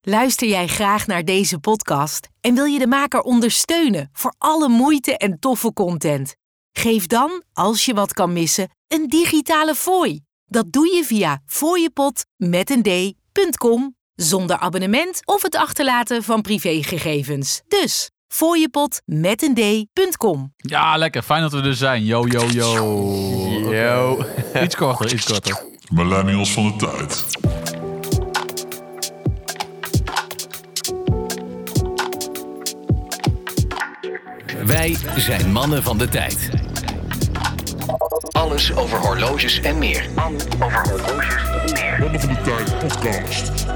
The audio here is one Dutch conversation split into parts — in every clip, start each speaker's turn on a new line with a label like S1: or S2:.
S1: Luister jij graag naar deze podcast en wil je de maker ondersteunen voor alle moeite en toffe content? Geef dan, als je wat kan missen, een digitale fooi. Dat doe je via fooiepot.com zonder abonnement of het achterlaten van privégegevens. Dus fooiepot.com.
S2: Ja, lekker. Fijn dat we er zijn. Yo, yo, yo.
S3: Yo.
S2: Iets korter, iets korter.
S4: Millennials van de tijd.
S5: Wij zijn mannen van de tijd. Alles over horloges en meer.
S4: Mannen van de tijd podcast.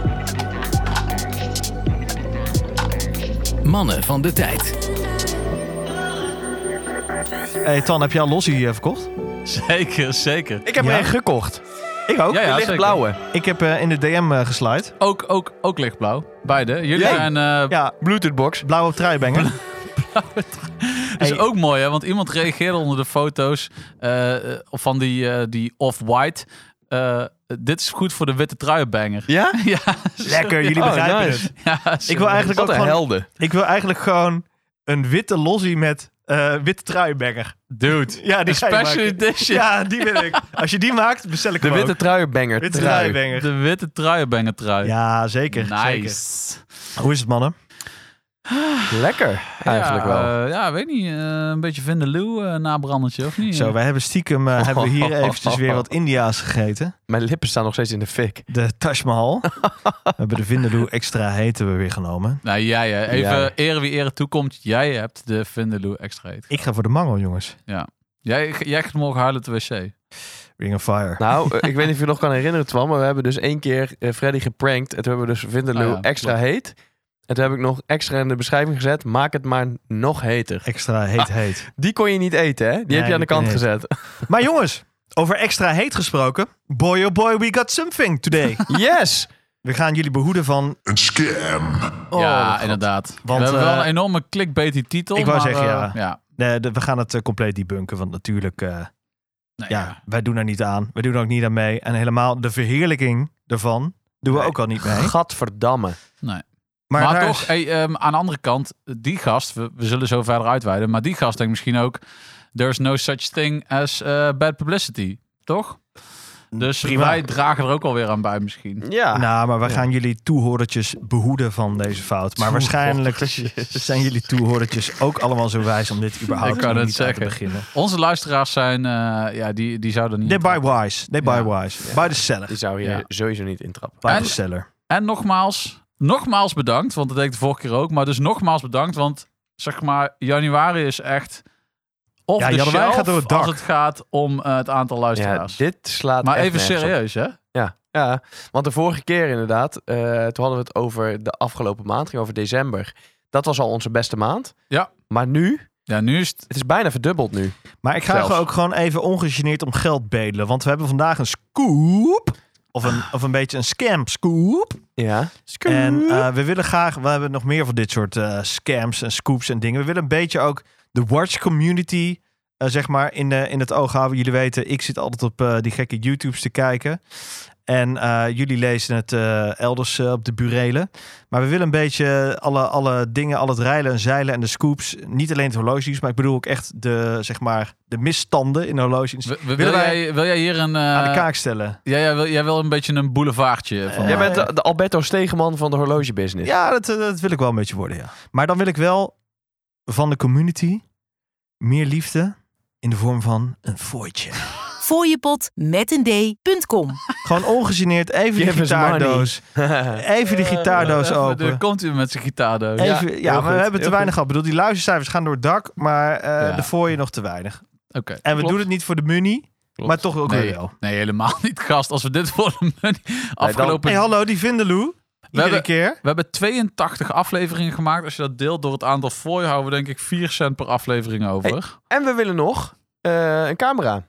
S5: Mannen van de tijd.
S3: Hey Tan, heb je al lossie eh, verkocht?
S2: Zeker, zeker.
S3: Ik heb
S2: Ja.
S3: er een gekocht. Ik ook.
S2: Ja, ja,
S3: De
S2: zeker.
S3: lichtblauwe. Ik heb eh, in de DM eh gesluit.
S2: Ook, ook, ook lichtblauw. Beide. Jullie
S3: Ja.
S2: zijn... eh,
S3: Ja,
S2: Bluetooth-box.
S3: blauwe truibengen.
S2: is
S3: Hey.
S2: ook mooi, hè? Want iemand reageerde onder de foto's eh, eh, van die, eh, die off-white. Eh, dit is goed voor de witte truienbanger.
S3: Ja?
S2: Ja,
S3: Lekker, jullie
S6: Oh,
S3: begrijpen
S6: nice.
S3: het.
S2: ja,
S3: Ik wil, eigenlijk ook
S6: Wat een
S3: gewoon,
S6: helden.
S3: ik wil eigenlijk gewoon een witte lossie met eh witte truibenger.
S2: Dude.
S3: Ja,
S2: Een
S3: die ga je
S2: special
S3: maken.
S2: edition.
S3: Ja, die wil ik. Als je die maakt, bestel ik
S6: De
S3: hem
S6: witte
S3: ook.
S6: truienbanger.
S3: witte
S6: trui.
S3: truibenger.
S2: De witte truienbanger trui.
S3: Ja, zeker. zeker.
S2: nice.
S3: Hoe is het, mannen?
S6: Lekker, eigenlijk
S2: ja,
S6: wel.
S2: eh, ja, weet niet. eh, een beetje Vindeloe eh nabrandertje, of niet?
S3: Zo, wij hebben stiekem eh, hebben we hier eventjes weer wat India's gegeten.
S6: Mijn lippen staan nog steeds in de fik.
S3: De Taj Mahal. we hebben de Vindeloe extra heet hebben we weer genomen.
S2: Nou, jij, hè. even
S6: Jij.
S2: ere wie ere toekomt. Jij hebt de Vindeloe extra heet.
S3: Ik ga voor de mango, jongens.
S2: Jij, jij gaat morgen huilen op de wc.
S3: Ring of Fire.
S6: Nou, eh, ik weet niet of je nog kan herinneren, Twan, maar we hebben dus één keer eh, Freddy geprankt. En toen hebben we dus Vindaloo
S2: Ah, ja,
S6: extra heet. En toen heb ik nog extra in de beschrijving gezet. Maak het maar nog heter.
S3: Extra heet heet.
S6: Die kon je niet eten, hè? Die
S3: Nee,
S6: heb je aan de
S3: die kon
S6: kant
S3: je niet
S6: gezet.
S3: Maar jongens, over extra heet gesproken. Boy oh boy, we got something today.
S6: Yes!
S3: We gaan jullie behoeden van...
S4: Een scam.
S2: ja, inderdaad.
S3: Oh, Want,
S2: we hebben wel
S3: eh,
S2: een enorme clickbait die titel.
S3: ik wou
S2: maar,
S3: zeggen,
S2: eh,
S3: ja.
S2: ja.
S3: Nee, de- we gaan het eh, compleet debunken, want natuurlijk... eh,
S2: Nee,
S3: ja, wij doen er niet aan. We doen er ook niet aan mee. En helemaal de verheerlijking ervan doen we
S6: Nee.
S3: ook al niet mee.
S6: Gadverdamme.
S3: Maar,
S2: Maar,
S3: daar
S2: toch,
S3: is-
S2: hey, ehm, aan de andere kant, die gast, we, we zullen zo verder uitweiden, maar die gast denkt misschien ook, there's no such thing as eh, bad publicity, toch? Dus
S3: Mm, Prima.
S2: wij dragen er ook alweer aan bij misschien.
S6: Ah, Ja.
S3: Nou, maar we gaan jullie toehoordertjes behoeden van deze fout. Maar waarschijnlijk zijn jullie toehoordertjes ook allemaal zo wijs om dit überhaupt
S2: Ik kan
S3: nog
S2: het
S3: niet aan te
S2: zeggen.
S3: beginnen.
S2: Onze luisteraars zijn, eh, ja, die, die zouden niet...
S3: They buy wise. They buy wise. Buy the seller.
S6: Die zou je
S2: Ja.
S6: sowieso niet intrappen.
S3: Buy
S2: En-
S3: the seller.
S2: En nogmaals, nogmaals bedankt, want dat deed ik de vorige keer ook. Maar dus nogmaals bedankt, want zeg maar, januari is echt of
S3: Ja,
S2: de
S3: januari
S2: shelf,
S3: gaat door het dak.
S2: als het gaat om eh, het aantal
S6: Ja,
S2: luisteraars.
S6: dit slaat
S2: maar
S6: echt
S2: even
S6: nergens op.
S2: serieus, hè?
S6: Ja, ja, want de vorige keer inderdaad, eh, toen hadden we het over de afgelopen maand, ging over december. Dat was al onze beste maand.
S2: Ja.
S6: Maar nu,
S2: Ja, nu is het...
S6: het is bijna verdubbeld nu.
S3: Maar ik ga
S6: Zelfs.
S3: ook gewoon even ongegeneerd om geld bedelen. Want we hebben vandaag een scoop. Of een, of een beetje een scam scoop.
S6: Ja.
S3: En eh, we willen graag, we hebben nog meer van dit soort eh, scams en scoops en dingen. We willen een beetje ook de watch community, eh, zeg maar, in, eh, in het oog houden. Jullie weten, ik zit altijd op eh, die gekke YouTubes te kijken. En eh, jullie lezen het eh, elders eh, op de burelen. Maar we willen een beetje alle, alle dingen, al het rijlen en zeilen en de scoops. Niet alleen het horlogedienst, maar ik bedoel ook echt de, zeg maar, de misstanden in de horlogedienst
S2: w- w- Wil,
S3: Willen wij-
S2: jij, wil jij hier een... eh,
S3: Dus aan de kaak Eh, stellen.
S2: ja, jij, wil, jij wil een beetje een boulevardje van...
S6: Jij
S3: Ja.
S6: bent de, de Alberto Stegeman van de horlogebusiness.
S3: Ja, dat, eh, dat wil ik wel een beetje worden, ja. Maar dan wil ik wel van de community meer liefde in de vorm van een voortje.
S1: fooiepot.com.
S3: Gewoon ongegeneerd even de
S6: Give us
S3: gitaardoos. Even de gitaardoos
S2: Eh, Even-
S3: open.
S2: Er komt hij met zijn gitaardoos.
S6: Eh,
S2: Ja.
S3: Even, ja,
S6: heel
S3: maar we
S6: goed,
S3: hebben te
S6: heel
S3: weinig gehad. Ik bedoel, die luistercijfers gaan door het dak, maar eh,
S2: Ja.
S3: de fooien nog te weinig.
S2: Oké.
S3: En we
S2: Klopt.
S3: doen het niet voor de munie,
S6: Klopt.
S3: maar toch ook
S2: Nee.
S3: weer wel.
S2: Nee, helemaal niet, gast. Als we dit voor de afgelopen...
S3: Hey, hallo, die Vindeloe. Iedere
S2: hebben-
S3: keer.
S2: We hebben 82 afleveringen gemaakt. Als je dat deelt door het aantal fooi, houden we denk ik 4 cent per aflevering over.
S6: En we willen nog eh, een camera.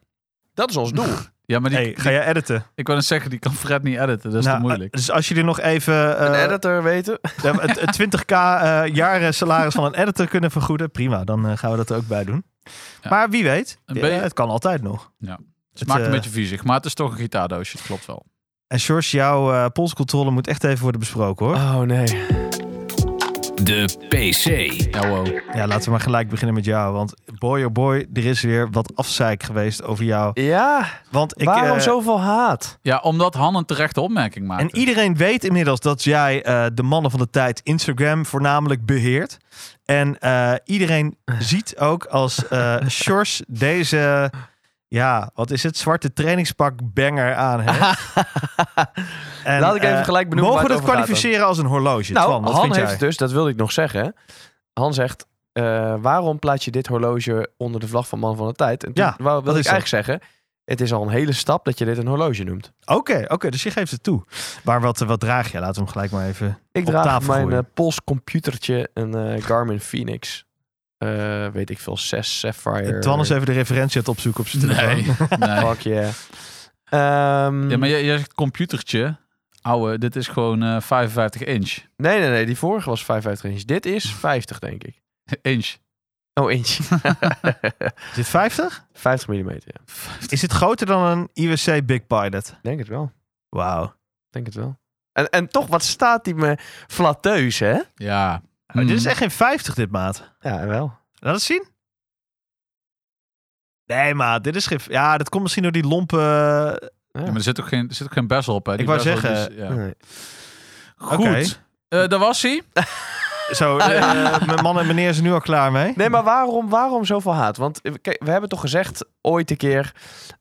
S6: Dat is ons doel.
S2: Ja, maar die,
S3: Hey, ga jij editen?
S2: ik wil net zeggen, die kan Fred niet editen. Dat is
S3: Nou,
S2: te moeilijk.
S3: eh, Dus als jullie nog even
S6: een
S3: eh,
S6: editor weten.
S3: Ja, maar het, het 20k eh jaren salaris van een editor kunnen vergoeden. Prima, dan eh, gaan we dat er ook bij doen.
S2: Ja.
S3: Maar wie weet,
S2: Een beetje-
S3: eh, het kan altijd nog.
S2: het, maakt een
S3: eh,
S2: beetje viezig, maar het is toch een gitaardoosje. Het klopt wel.
S3: En George, jouw eh, polscontrole moet echt even worden besproken hoor.
S6: Oh nee.
S5: De PC.
S2: Ja, wow.
S3: Ja, laten we maar gelijk beginnen met jou. Want boy oh boy, er is weer wat afzeik geweest over jou.
S6: Ja,
S3: Want ik,
S6: waarom
S3: eh,
S6: zoveel haat?
S2: Ja, omdat Han een terechte opmerking maakte.
S3: En iedereen weet inmiddels dat jij eh, de mannen van de tijd Instagram voornamelijk beheert. En eh, iedereen ziet ook als eh Sjors deze, ja, wat is het, zwarte trainingspak banger aan heeft. En,
S6: Laat ik even
S3: eh,
S6: gelijk benoemen
S3: Mogen we
S6: waar
S3: dat
S6: het over gaat dan.
S3: kwalificeren als een horloge? Twan,
S6: Nou,
S3: wat
S6: Han
S3: vind
S6: heeft
S3: jij?
S6: dus, dat wilde ik nog zeggen. Han zegt, eh, waarom plaats je dit horloge onder de vlag van Man van de Tijd? En toen,
S3: Ja,
S6: wou- wilde
S3: is
S6: ik
S3: dat?
S6: eigenlijk zeggen, het is al een hele stap dat je dit een horloge noemt.
S3: Oké, oké, dus je geeft het toe. Maar wat, eh, wat draag je? Laten we hem gelijk maar even...
S6: Ik
S3: Op
S6: draag
S3: tafel
S6: op mijn
S3: gooien.
S6: eh, polscomputertje een eh, Garmin Phoenix. Eh, weet ik veel, 6 Sapphire.
S3: Eh, Twan is even de referentie aan het opzoeken op zijn telefoon.
S2: Nee, nee.
S6: Fuck yeah. Ehm,
S2: Ja, maar jij, jij zegt computertje. Ouwe, dit is gewoon eh, 55 inch.
S6: Nee, nee, nee. Die vorige was 55 inch. Dit is 50, denk ik.
S2: Inch.
S6: Oh, inch.
S3: Is dit 50?
S6: 50 millimeter, ja.
S3: Is dit groter dan een IWC Big Pilot?
S6: Ik Denk het wel.
S3: Wauw.
S6: Ik Denk het wel. En, en toch, wat staat die me flatteus, hè?
S2: Ja.
S3: Oh, dit is
S2: Hmm.
S3: echt geen 50 dit, maat.
S6: Ja, wel.
S3: Laat het zien. Nee, maar dit is geen... Ja, dat komt misschien door die lompe... eh,
S2: Ja, maar er zit ook geen, er zit ook geen bezel op. Hè. Die
S3: Ik wou
S2: bezel,
S3: zeggen,
S2: die is- ja.
S6: Nee.
S2: Goed.
S3: Oké.
S2: Eh, daar was hij.
S3: Zo, eh, mijn man en meneer is er nu al klaar mee.
S6: Nee, maar waarom, waarom zoveel haat? Want eh, kijk, we hebben toch gezegd ooit een keer,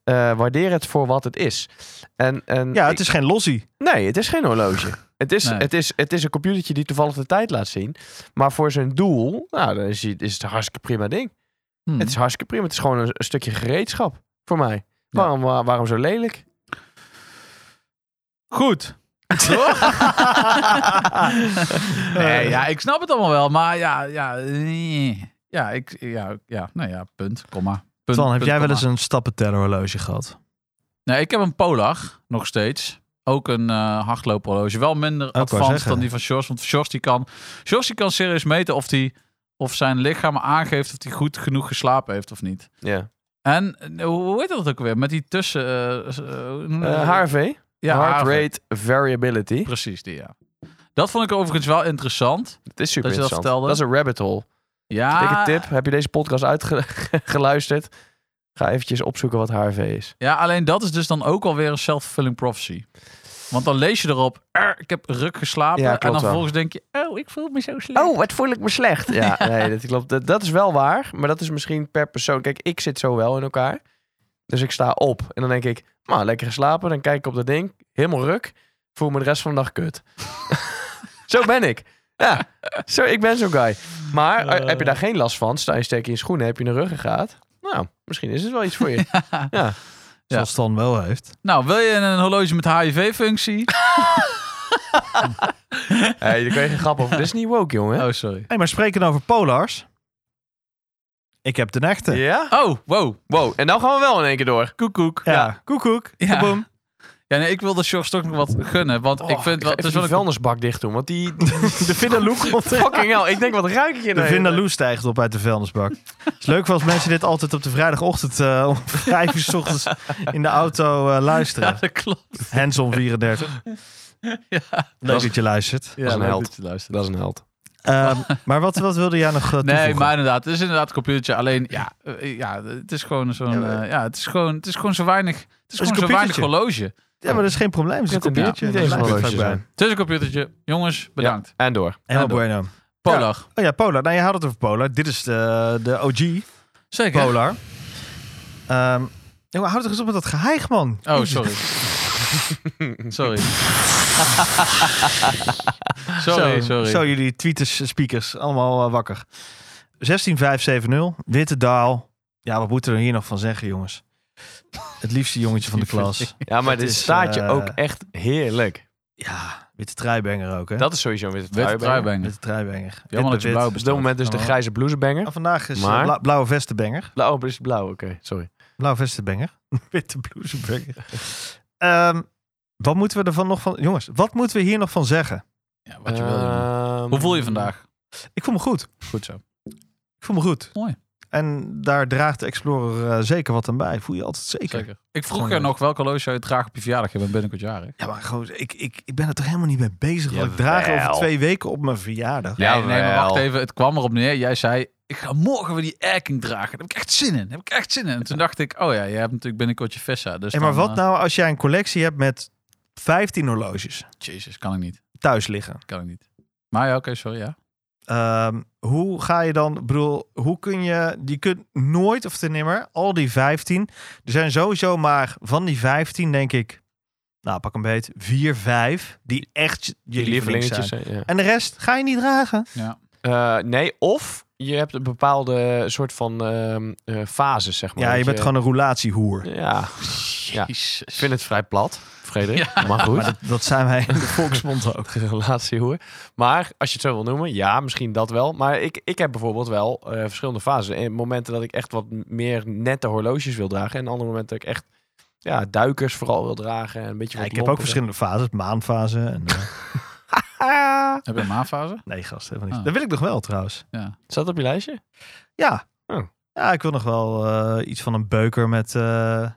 S6: eh, waardeer het voor wat het is. En, en
S3: Ja, het is geen lossie.
S6: Nee, het is geen horloge. Het is,
S2: Nee.
S6: het, is, het is een computertje die toevallig de tijd laat zien. Maar voor zijn doel, nou, dan is, die- is het een hartstikke prima ding.
S2: Hmm.
S6: Het is hartstikke prima. Het is gewoon een, een stukje gereedschap voor mij. Waarom, waar- waarom zo lelijk?
S2: Goed. Toch?
S3: Eh.
S2: nee, ja, ik snap het allemaal wel, maar ja, ja, nee. ja, ik, ja, ja, nou ja, punt, komma. Punt,
S3: Twan, heb
S2: punt,
S3: jij wel
S2: komma.
S3: eens een stappentellerhorloge gehad?
S2: Nee, ik heb een Polar, nog steeds. Ook een eh hardloophorloge. Wel minder
S3: wou
S2: advanced
S3: zeggen.
S2: dan die van Sjors, want Sjors die kan, Sjors die kan serieus meten of, die, of zijn lichaam aangeeft of hij goed genoeg geslapen heeft of niet.
S6: Ja.
S2: En eh, hoe heet dat ook weer? Met die tussen... eh, s- eh, hoe noem je dat?
S6: Eh, HRV,
S2: ja,
S6: Heart
S2: haar-
S6: Rate Variability.
S2: Precies, die ja. Dat vond ik overigens wel interessant.
S6: Het is super
S2: Dat je dat
S6: interessant. Dat, Ah.
S2: vertelde?
S6: is een rabbit hole.
S2: Ja,
S6: Dikke tip. Heb je deze podcast uitgeluisterd? Ga eventjes opzoeken wat HRV is.
S2: Ja, alleen dat is dus dan ook alweer een self-fulfilling prophecy. Want dan lees je erop, "Er, ik heb ruk geslapen.
S6: Ja, klopt
S2: en dan
S6: wel.
S2: vervolgens denk je, oh, ik voel me zo slecht.
S6: Oh, wat voel ik me slecht. Ja, nee, dat klopt. Dat, dat is wel waar, maar dat is misschien per persoon. Kijk, ik zit zo wel in elkaar. Dus ik sta op en dan denk ik, nou, lekker geslapen. Dan kijk ik op dat ding, helemaal ruk. Voel me de rest van de dag kut. zo ben ik. Ja, zo, ik ben zo'n guy. Maar eh, heb je daar geen last van, sta je sterk in je schoenen, heb je een ruggengraat. Nou, misschien is het wel iets voor je. ja.
S2: Ja.
S3: Zoals Twan wel heeft.
S2: Nou, wil je een horloge met HIV-functie?
S6: Hey, daar kan je geen grap over. Dit is niet woke, jongen.
S2: Oh, sorry.
S3: Hey, maar spreken over polars. Ik heb de echte.
S6: Ja?
S2: Oh, wow.
S6: Wow, en nou gaan we wel in één keer door.
S2: Koekoek.
S3: Ja, koekoek.
S2: Ja.
S3: kaboom.
S2: Ja, nee, ik wil de shorts toch nog wat gunnen. Want Oh, ik vind wel...
S6: wel,
S2: Het is
S6: Oh, even die
S2: wel een
S6: vuilnisbak dicht doen, want die... de Vindaloek
S3: komt er.
S6: Fucking hell, ik denk, wat ruik ik hier
S3: De
S6: nou?
S3: Vindaloo stijgt op uit de vuilnisbak. Het is leuk voor als mensen dit altijd op de vrijdagochtend eh, om vijf uur 's ochtends in de auto eh,
S2: Ja,
S3: luisteren.
S2: dat klopt.
S3: Hands-on 34.
S2: Ja.
S3: Leuk dat je luistert.
S2: Ja,
S6: is een
S2: leuk
S6: held.
S2: dat je luistert.
S6: Dat is een held.
S3: Ehm, maar wat, wat wilde jij nog eh, toevoegen?
S2: Nee, maar inderdaad, het is inderdaad een computertje. Alleen, ja, eh, ja het is gewoon zo'n...
S3: Ja, maar-
S2: eh, ja, het is gewoon, het is gewoon zo weinig... Het is
S3: een
S2: gewoon zo weinig
S3: computertje.
S2: horloge.
S3: Ja, maar dat is geen probleem. Het is een
S6: Ja,
S3: computertje.
S6: niet
S3: Dat
S6: eens
S3: lijkt
S6: een
S3: me
S6: horloge
S3: vaak
S6: zijn.
S2: Het is een computertje. Jongens, bedankt.
S6: En door.
S3: Helemaal bueno.
S2: Polar.
S3: Oh ja, Polar. Nou, je had het over Polar. Dit is de, de OG
S2: Zeker.
S3: Polar. Ehm jongen, houd toch eens op met dat geheig, man.
S2: Oh, sorry. sorry. sorry,
S3: zo,
S2: sorry.
S3: Zo jullie tweeters, eh, speakers, allemaal eh, wakker. 16570, witte daal. Ja, wat moeten we hier nog van zeggen, jongens? Het liefste jongetje van de klas.
S6: Ja, maar
S3: Het
S6: dit
S3: is,
S6: staat je
S3: eh,
S6: ook echt heerlijk.
S3: Ja, witte truibanger ook, hè?
S6: Dat is sowieso weer de
S2: Witte truibanger.
S3: Witte truibanger.
S2: Jammer dat je blauw
S6: Op
S2: bent.
S6: dit moment dus de grijze blousebanger.
S3: En vandaag is eh,
S6: Maar-
S3: bla- blauwe vestenbanger.
S6: Blauw, oh, is blauw, oké. Sorry.
S3: Blauwe vestenbanger. witte blousebanger. Ehm, wat moeten we ervan nog van... Jongens, wat moeten we hier nog van zeggen?
S2: Ja, wat je wil. jongen.
S6: Ehm,
S2: Hoe voel je vandaag?
S3: Ik voel me goed.
S2: Goed zo.
S3: Ik voel me goed.
S2: Mooi.
S3: Eh, En daar draagt de Explorer eh, zeker wat aan bij. Voel je altijd zeker.
S2: Zeker. eh, Ik vroeg
S3: Gewoon
S2: je
S3: leuk.
S2: nog welke horloge zou je dragen op je verjaardag. Je bent binnenkort jarig.
S3: Ja, maar gewoon, ik, ik, ik ben er toch helemaal niet mee bezig. Want ik draag over
S6: Jawel.
S3: twee weken op mijn verjaardag.
S2: Ja, nee, maar wacht
S6: Jawel.
S2: even. Het kwam erop neer. Jij zei, ik ga morgen weer die erking dragen. Daar heb ik echt zin in. Daar heb ik echt zin in. En toen dacht ik, oh ja, je hebt natuurlijk binnenkort je Vessa. Dus
S3: en maar
S2: dan,
S3: wat
S2: eh,
S3: nou als jij een collectie hebt met 15 horloges
S2: eh, Jezus, kan ik niet.
S3: thuis liggen?
S2: Kan ik niet. Maar ja, oké, sorry, ja.
S3: Ehm, hoe ga je dan, ik bedoel, hoe kun je, je kunt nooit of te nimmer, al die 15, er zijn sowieso maar van die 15, denk ik, nou pak een beet, 4, 5, die echt je
S6: Die
S3: lieveling zijn.
S6: lievelingetjes, hè, ja.
S3: En de rest ga je niet dragen.
S6: Eh, nee, of je hebt een bepaalde soort van ehm eh, fases, zeg maar.
S3: Ja,
S6: dat
S3: je bent gewoon een roulatiehoer.
S6: Ja, Ja.
S2: Jezus.
S6: ik vind het vrij plat, Frederik. Maar goed.
S3: Maar dat, dat zijn wij in de volksmond ook.
S6: relatie hoor. Maar als je het zo wil noemen, ja, misschien dat wel. Maar ik, ik heb bijvoorbeeld wel eh, verschillende fasen. En momenten dat ik echt wat meer nette horloges wil dragen. En andere momenten dat ik echt ja, duikers vooral wil dragen. En een beetje
S3: Ja,
S6: wat
S3: ik heb ook
S6: lompere.
S3: verschillende fases, maanfase. En, eh,
S6: Ah,
S2: Heb je een maanfase?
S3: nee, gast, helemaal niet.
S2: Ah.
S3: Dat wil ik nog wel trouwens.
S6: staat dat op je lijstje?
S3: Ja.
S6: Oh.
S3: Ja, ik wil nog wel eh, iets van een beuker met eh,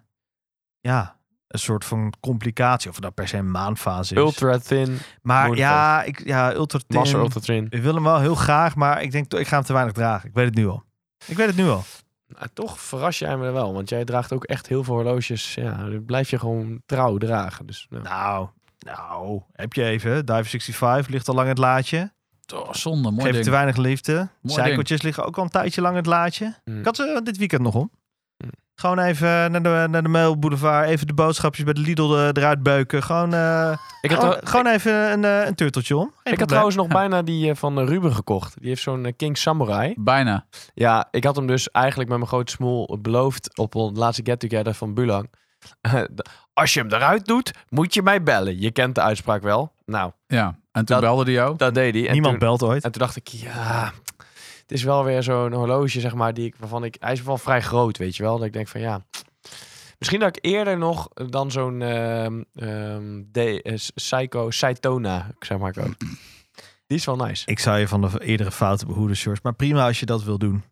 S3: ja, een soort van complicatie. Of het nou per se een maanfase is.
S6: Ultra thin,
S3: maar
S6: moeilijk
S3: ja, ik, ja, ultra thin.
S6: massa ultra thin.
S3: Ik wil hem wel heel graag, maar ik denk, toch, ik ga hem te weinig dragen. Ik weet het nu al. Ik weet het nu al.
S6: Nou, toch verras jij me wel, want jij draagt ook echt heel veel horloges. Ja, dat blijf je gewoon trouw dragen. Dus, nou.
S3: Nou, nou, heb je even. Dive 65 ligt al lang in het laadje.
S2: Oh, zonde, mooi
S3: Geef
S2: ding.
S3: te weinig liefde.
S2: ding.
S3: Zijkeltjes liggen ook al een tijdje lang in het laadje.
S6: Mm.
S3: Ik had ze dit weekend nog om.
S6: Mm.
S3: Gewoon even eh, naar de, naar de Mail Boulevard. Even de boodschapjes bij de Lidl eh, eruit beuken. Gewoon, eh,
S6: Ik had,
S3: gewoon,
S6: trouw-
S3: gewoon even een, eh, een turteltje om. Geen
S6: ik
S3: probleem.
S6: had trouwens nog bijna die eh, van eh, Ruben gekocht. Die heeft zo'n eh, King Samurai.
S2: Bijna.
S6: Ja, ik had hem dus eigenlijk met mijn grote smoel beloofd op ons laatste get-together van Bulang. Als je hem eruit doet, moet je mij bellen. Je kent de uitspraak wel. Nou,
S2: Ja. En toen
S6: Dat-
S2: belde die jou.
S6: dat deed hij. En
S3: Niemand
S6: toen,
S3: belt ooit.
S6: En toen dacht ik, ja, het is wel weer zo'n horloge, zeg maar, die ik, waarvan ik... Hij is wel vrij groot, weet je wel. Dat ik denk van, ja... Misschien dat ik eerder nog dan zo'n ehm ehm, de, eh, Psycho Saitona, zeg maar, koop. Die is wel nice.
S3: Ik zou je van de eerdere fouten behoeden, George. Maar prima als je dat wil doen.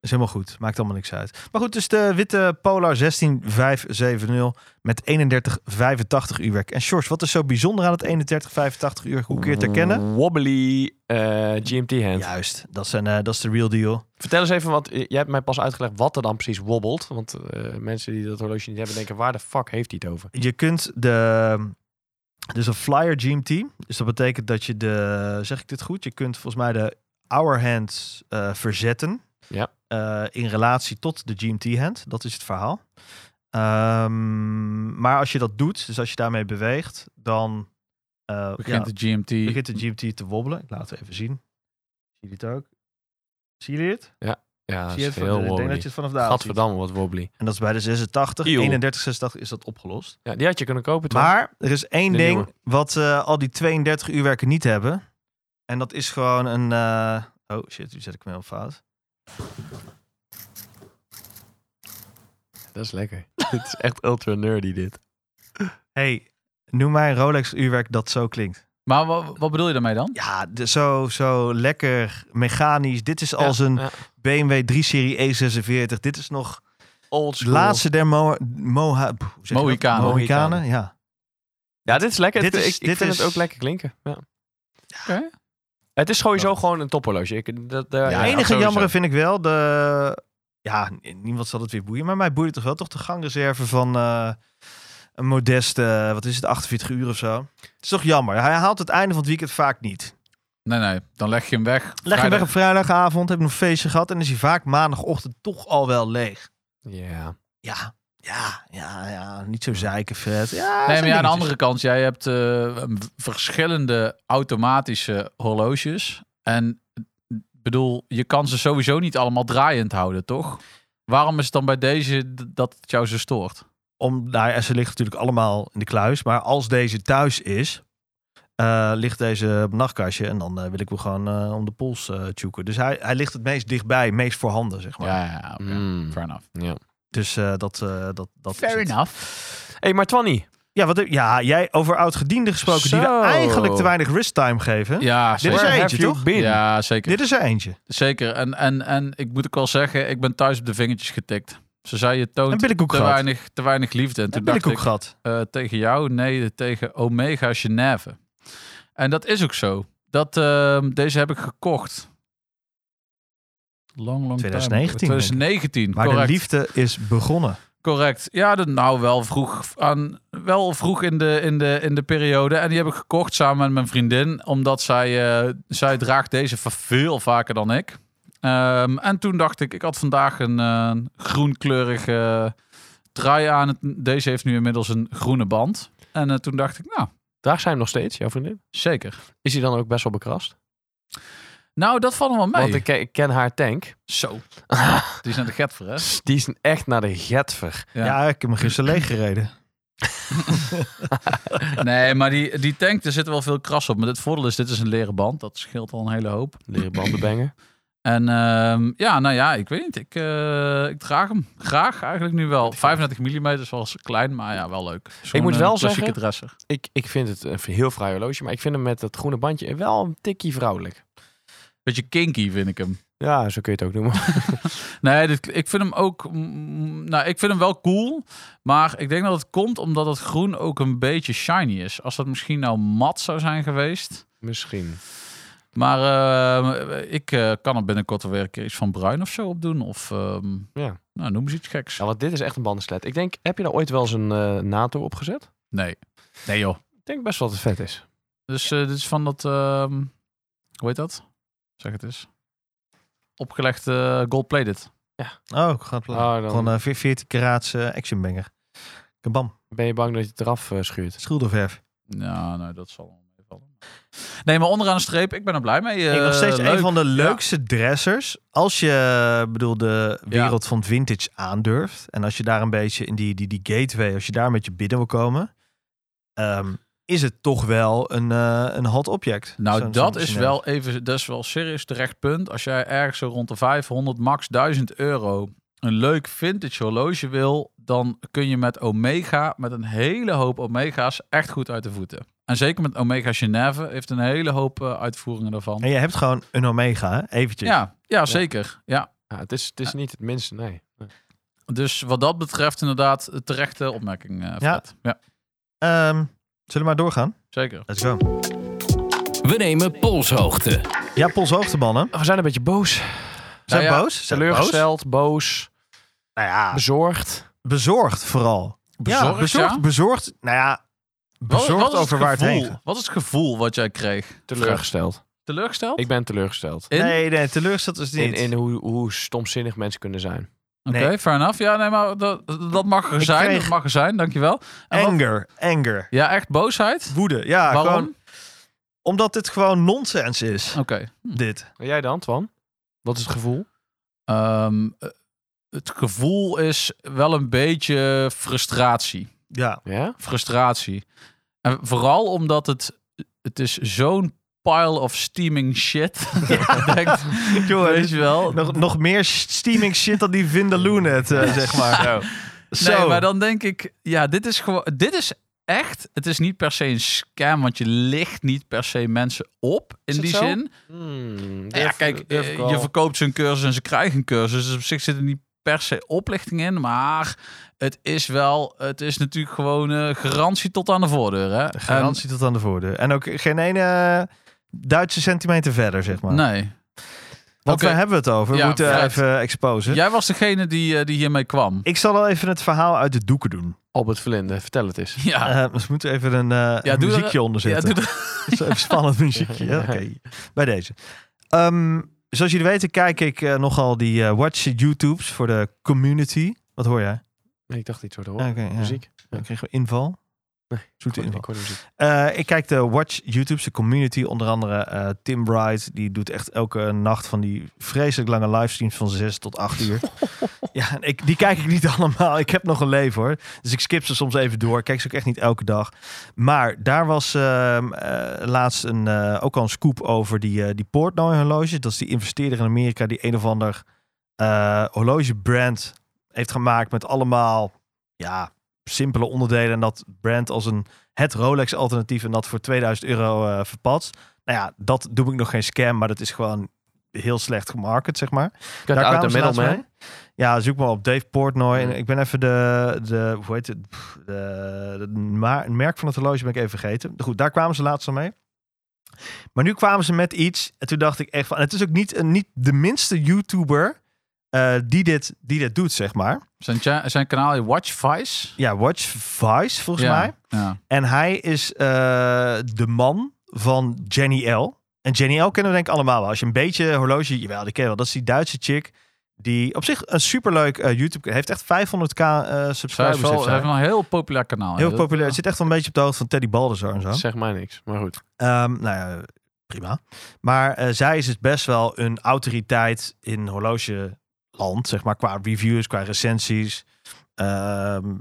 S3: Is helemaal goed. Maakt allemaal niks uit. Maar goed, dus de witte Polar 16570 met 3185 uurwerk. En George, wat is zo bijzonder aan het 3185 uurwerk? Hoe kun je het herkennen?
S6: Wobbly eh, GMT hand.
S3: Juist, dat, zijn, eh, dat is de real deal.
S6: Vertel eens even, want eh, jij hebt mij pas uitgelegd wat er dan precies wobbelt. Want eh, mensen die dat horloge niet hebben, denken waar de fuck heeft hij het over?
S3: Je kunt de. Dus een flyer GMT. Dus dat betekent dat je de. Zeg ik dit goed? Je kunt volgens mij de hour hand eh, verzetten.
S6: Ja.
S3: Eh, in relatie tot de GMT hand. Dat is het verhaal. Ehm, maar als je dat doet, dus als je daarmee beweegt, dan. eh,
S2: Begint
S3: ja,
S2: de GMT.
S3: begint de GMT te wobbelen. Ik laat het even zien. Zie je dit ook? Zie je dit?
S6: Ja, dat
S3: Zie je
S6: Ah, is
S3: het van-
S6: heel
S3: ik denk dat
S6: wobbly.
S3: je het vanaf daar ziet.
S6: Gadverdamme, wat wobbly.
S3: En dat is bij de 86,
S6: Eeuw.
S3: 31, 86 is dat opgelost.
S6: Ja, die had je kunnen kopen toch?
S3: Maar er is één
S6: De
S3: ding
S6: nieuwe.
S3: wat eh, al die 32 uurwerken niet hebben. En dat is gewoon een... eh, Oh shit, nu zet ik me heel fout.
S6: Dat is lekker. dit is echt ultra nerdy dit.
S3: hey, noem mij een Rolex uurwerk dat zo klinkt.
S2: Maar wat, wat bedoel je daarmee dan?
S3: Ja, de- zo, zo lekker mechanisch. Dit is als een
S6: ja.
S3: BMW 3-serie E46. E Dit is nog
S6: Old
S3: de
S6: school.
S3: laatste der Mo Moha pff, hoe zeg je dat?
S2: Mohikanen.
S3: Mohikanen, ja.
S6: Ja, dit is lekker.
S3: Dit
S6: Dit
S3: is-
S6: ik ik
S3: dit
S6: vind
S3: is-
S6: het ook lekker klinken. Ja.
S2: Oké.
S6: Het is sowieso gewoon een tophorloge. Ik, dat, daar-
S3: De
S2: ja,
S3: enige
S2: sowieso.
S3: jammere vind ik wel de... Ja, niemand zal het weer boeien, maar mij boeit het toch wel toch de gangreserve van eh, een modeste, wat is het, 48 uur of zo. Het is toch jammer. Hij haalt het einde van het weekend vaak niet.
S2: Nee, nee. Dan leg je hem weg.
S3: Leg je
S2: Vrijdag.
S3: weg op vrijdagavond, heb je nog een feestje gehad en is hij vaak maandagochtend toch al wel leeg.
S6: Ja.
S3: Ja, ja, ja, ja. Niet zo zeiken, vet.
S2: Nee, maar
S3: Ja,
S2: ja, aan de
S3: dingetjes.
S2: andere kant, jij hebt eh, m- verschillende automatische horloges. En eh, bedoel, je kan ze sowieso niet allemaal draaiend houden, toch? Waarom is het dan bij deze d- dat het jou zo stoort?
S3: om, nou ja, ze ligt natuurlijk allemaal in de kluis. Maar als deze thuis is, eh, ligt deze op een nachtkastje. En dan eh, wil ik hem gewoon eh, om de pols eh tjoeken. Dus hij, hij ligt het meest dichtbij, meest voorhanden, zeg maar.
S2: Ja, ja, ja, oké.
S6: Mm.
S2: Fair enough.
S3: Dus eh, dat, eh, dat, dat is het.
S2: enough.
S6: hey, maar Twanny.
S3: Ja, wat, eh, ja jij over oud-gedienden gesproken die
S6: Zo.
S3: we eigenlijk te weinig wrist time geven.
S2: Ja,
S3: Dit is
S2: zeker.
S3: er
S6: Where
S3: eentje,
S6: have you
S3: toch?
S6: been?
S2: Ja, zeker.
S3: Dit is er eentje.
S2: Zeker. En, en, en ik moet ook wel zeggen, ik ben thuis op de vingertjes getikt. Ze zei, je
S3: Een
S2: toont
S3: billenkoek
S2: te
S3: gehad.
S2: weinig, te weinig liefde. En toen
S3: Een
S2: dacht ik,
S3: billenkoek gehad.
S2: eh, tegen jou, nee, tegen Omega Geneve. En dat is ook zo. Dat, ehm, deze heb ik gekocht. Lang, lang time ago.
S3: 2019, denk ik.
S2: 2019,
S3: Maar de
S2: correct.
S3: liefde is begonnen.
S2: Correct. Ja, dat nou wel vroeg, aan, wel vroeg in, de, in, de, in de periode. En die heb ik gekocht samen met mijn vriendin. Omdat zij, eh, zij draagt deze va- veel vaker dan ik. Ehm, en toen dacht ik, ik had vandaag een eh, groenkleurige trui aan. Het- Deze heeft nu inmiddels een groene band. En eh, toen dacht ik, nou,
S6: Draagt zij hem nog steeds, jouw vriendin?
S2: zeker.
S6: Is hij dan ook best wel bekrast?
S2: Nou, dat valt me wel mee.
S6: Want ik, ik ken haar tank.
S2: Zo. Die is naar de get voor, hè?
S6: Die is echt naar de getver.
S2: Ja.
S3: Ja, ik heb me gisteren leeggereden.
S2: Nee, maar die, die tank, er zit wel veel kras op. Maar het voordeel is, dit is een leren band. Dat scheelt al een hele hoop.
S6: Leren bandenbanger.
S2: En ehm, ja, nou ja, ik weet niet. Ik, eh, ik draag hem graag eigenlijk nu wel. 35 mm is wel eens klein, maar ja, wel leuk. Is gewoon
S6: moet
S2: een
S6: wel
S2: klassieke
S6: zeggen-
S2: dresser.
S6: Ik, ik vind het een heel fraai horloge, maar ik vind hem met dat groene bandje wel een tikkie vrouwelijk.
S2: Beetje kinky vind ik hem.
S6: Ja, zo kun je het ook noemen.
S2: Nee, dit, ik vind hem ook... mm, nou, ik vind hem wel cool. Maar ik denk dat het komt omdat het groen ook een beetje shiny is. Als dat misschien nou mat zou zijn geweest.
S6: Misschien.
S2: Maar ehm, ik eh, kan er binnenkort wel weer een keer iets van bruin of zo op doen. Of ehm,
S6: Ja.
S2: nou, noem eens iets geks.
S6: Ja, want dit is echt een bandenslet. Ik denk, heb je daar ooit wel eens een eh, NATO opgezet?
S2: Nee. Nee joh.
S6: Ik denk best wel dat het vet is.
S2: Dus eh, dit is van dat, ehm, hoe heet dat? Zeg het eens. Opgelegd eh gold plated.
S3: Oh, gaat pla-
S6: Ah, dan-
S3: Gewoon eh, veer- 14 karaats eh, action banger. Kabam,
S6: Ben je bang dat je het eraf eh, schuurt?
S3: schilderverf.
S2: Nou, nee, dat zal wel meevallen. Nee, maar onderaan de streep, ik ben er blij mee.
S3: Ik
S2: eh,
S3: nog steeds
S2: leuk.
S3: een van de leukste dressers. Als je, eh, bedoel, de wereld van vintage aandurft. En als je daar een beetje in die, die, die gateway, als je daar met je binnen wil komen. ehm, is het toch wel een, eh, een hot object.
S2: Nou,
S3: Zo'n-
S2: dat
S3: zo'n
S2: is
S3: Chanel.
S2: wel even, dat is wel serieus terecht punt. Als jij ergens zo rond de 500, max 1000 euro een leuk vintage horloge wil, dan kun je met Omega, met een hele hoop Omega's, echt goed uit de voeten. En zeker met Omega Geneve heeft een hele hoop eh, uitvoeringen daarvan.
S3: En je hebt gewoon een Omega, hè? eventjes.
S2: Ja, ja, zeker. Ja,
S6: Ja, het, is, het is niet het minste, nee.
S2: Dus wat dat betreft inderdaad een terechte opmerking, eh
S3: Ja.
S2: Fred. Ja.
S3: Ehm, zullen we maar doorgaan?
S2: zeker.
S3: Let's go.
S5: We nemen polshoogte.
S3: Ja, polshoogtemannen.
S6: We zijn een beetje boos.
S3: Zijn
S2: Nou ja,
S3: boos? Zijn we boos?
S6: Teleurgesteld, boos, Ah.
S3: Nou ja,
S6: bezorgd.
S3: bezorgd vooral.
S2: Bezorgd,
S3: ja, bezorgd,
S2: ja?
S3: bezorgd. Nou ja, bezorgd
S2: is
S3: over waar het
S2: gevoel-
S3: heen gaat.
S2: Wat is het gevoel wat jij kreeg?
S6: Teleurgesteld.
S2: Teleurgesteld?
S6: Ik ben teleurgesteld.
S2: In?
S3: Nee, nee, teleurgesteld is het
S6: In,
S3: niet.
S6: in hoe, hoe stomzinnig mensen kunnen zijn.
S2: Oké,
S3: nee.
S2: fair enough. Ja, nee, maar dat, dat mag er
S3: Ik
S2: zijn.
S3: kreeg-
S2: Dat mag er zijn, dankjewel. En wat-
S3: anger, anger.
S2: ja, echt boosheid?
S3: Woede, ja.
S2: Waarom? Oh.
S3: Gewoon, omdat dit gewoon nonsens is,
S2: Oké.
S3: dit.
S6: En jij dan, Twan? Wat is het gevoel?
S2: Ehm, eh, het gevoel is wel een beetje frustratie.
S3: Ja,
S6: Ja?
S2: frustratie. En vooral omdat het, het is zo'n pile of steaming shit. Ik denk,
S3: Jongen,
S2: weet je wel.
S3: nog, nog meer steaming shit dan die Vindaloo net, eh, zeg maar. Zo.
S2: Nee, maar dan denk ik, ja, dit is gewoon, dit is echt, het is niet per se een scam, want je ligt niet per se mensen op in
S6: Is het
S2: die
S6: zo?
S2: zin.
S6: Hmm,
S2: ja,
S6: durf-
S2: kijk,
S6: durf
S2: eh,
S6: ik wel.
S2: je verkoopt zo'n cursus en ze krijgen een cursus, dus op zich zit er niet per se oplichting in, maar het is wel, het is natuurlijk gewoon eh, garantie tot aan de voordeur, hè? En-
S3: Garantie tot aan de voordeur. En ook geen ene eh, Duitse centimeter verder, zeg maar.
S2: nee.
S3: Want
S2: Oké.
S3: waar hebben we het over? We
S2: Ja,
S3: moeten
S2: Fred.
S3: even exposen.
S2: Jij was degene die, eh, die hiermee kwam.
S3: Ik zal al even het verhaal uit de doeken doen.
S6: Albert Verlinde, vertel het eens.
S2: Ja,
S3: Eh, dus we moeten even een eh,
S2: Ja,
S3: een
S2: doe er-
S3: muziekje
S2: ja,
S3: onderzetten.
S2: doe dat.
S3: Dat is even spannend muziekje. Ja, Oké, bij deze. Ehm, zoals jullie weten kijk ik eh, nogal die eh, Watch It YouTubes voor de community. Wat hoor jij?
S6: Nee, ik dacht iets hoor.
S3: Oké, ja.
S6: Muziek.
S3: Ik kreeg een inval.
S6: Nee,
S3: Zoete
S6: Ik
S3: inval.
S6: hoorde muziek.
S3: Eh, ik kijk de Watch YouTube's, de community. Onder andere eh, Tim Bright. Die doet echt elke nacht van die vreselijk lange livestreams van 6 tot 8 uur. ja, en ik, die kijk ik niet allemaal. Ik heb nog een leven hoor. Dus ik skip ze soms even door. Ik kijk ze ook echt niet elke dag. Maar daar was ehm, eh, laatst een, eh, ook al een scoop over die, eh, die Portnoy horloge. Dat is die investeerder in Amerika die een of ander eh horlogebrand heeft gemaakt met allemaal... Ja, simpele onderdelen. En dat brand als een het Rolex alternatief en dat voor 2000 euro eh verpatst. Nou ja, dat doe ik nog geen scam, maar dat is gewoon heel slecht gemarket, zeg maar.
S6: Cut out
S3: kwamen
S6: the
S3: ze laatst
S6: middleman.
S3: mee. Ja, zoek maar op Dave Portnoy.
S6: Ja.
S3: En ik ben even de, de hoe heet het, Pff, de, de ma- merk van het horloge ben ik even vergeten. Goed, daar kwamen ze laatst al mee. Maar nu kwamen ze met iets en toen dacht ik echt van, het is ook niet, een- niet de minste YouTuber eh, die, dit, die dit doet, zeg maar.
S2: Zijn, cha- zijn kanaal is Watch Vice.
S3: Ja, Watch Vice volgens
S2: ja.
S3: mij.
S2: Ja.
S3: En hij is eh, de man van Jenny L. En Jenny L kennen we denk ik allemaal wel. Als je een beetje horloge... Jawel, die ken je wel. Dat is die Duitse chick die op zich een superleuk eh, YouTube... Heeft echt 500k eh,
S2: Zij
S3: subscribers.
S2: is wel, ze
S3: heeft zij.
S2: hebben een heel populair kanaal.
S3: Heel
S2: ja.
S3: populair. Het zit echt wel een beetje op de hoogte van Teddy Baldassar en zo.
S6: Zeg mij niks, maar goed.
S3: Ehm, nou ja, prima. Maar eh, zij is dus best wel een autoriteit in horlogeland, zeg maar, qua reviews, qua recensies. Ehm,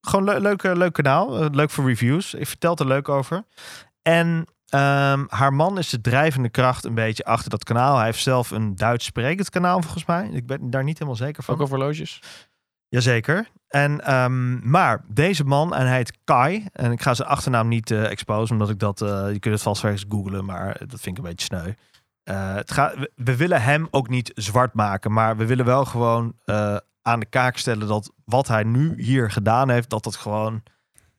S3: gewoon een leuk, eh, leuk kanaal, eh, leuk voor reviews. Ik vertel het er leuk over. En ehm, haar man is de drijvende kracht een beetje achter dat kanaal. Hij heeft zelf een Duits sprekend kanaal, volgens mij. Ik ben daar niet helemaal zeker van.
S6: Ook over horloges?
S3: Jazeker. En, ehm, maar deze man, en hij heet Kai. En ik ga zijn achternaam niet eh exposen, omdat ik dat... eh, je kunt het vast ergens googlen, maar dat vind ik een beetje sneu. Eh, het gaat- we, we willen hem ook niet zwart maken, maar we willen wel gewoon eh, aan de kaak stellen dat wat hij nu hier gedaan heeft, dat dat gewoon...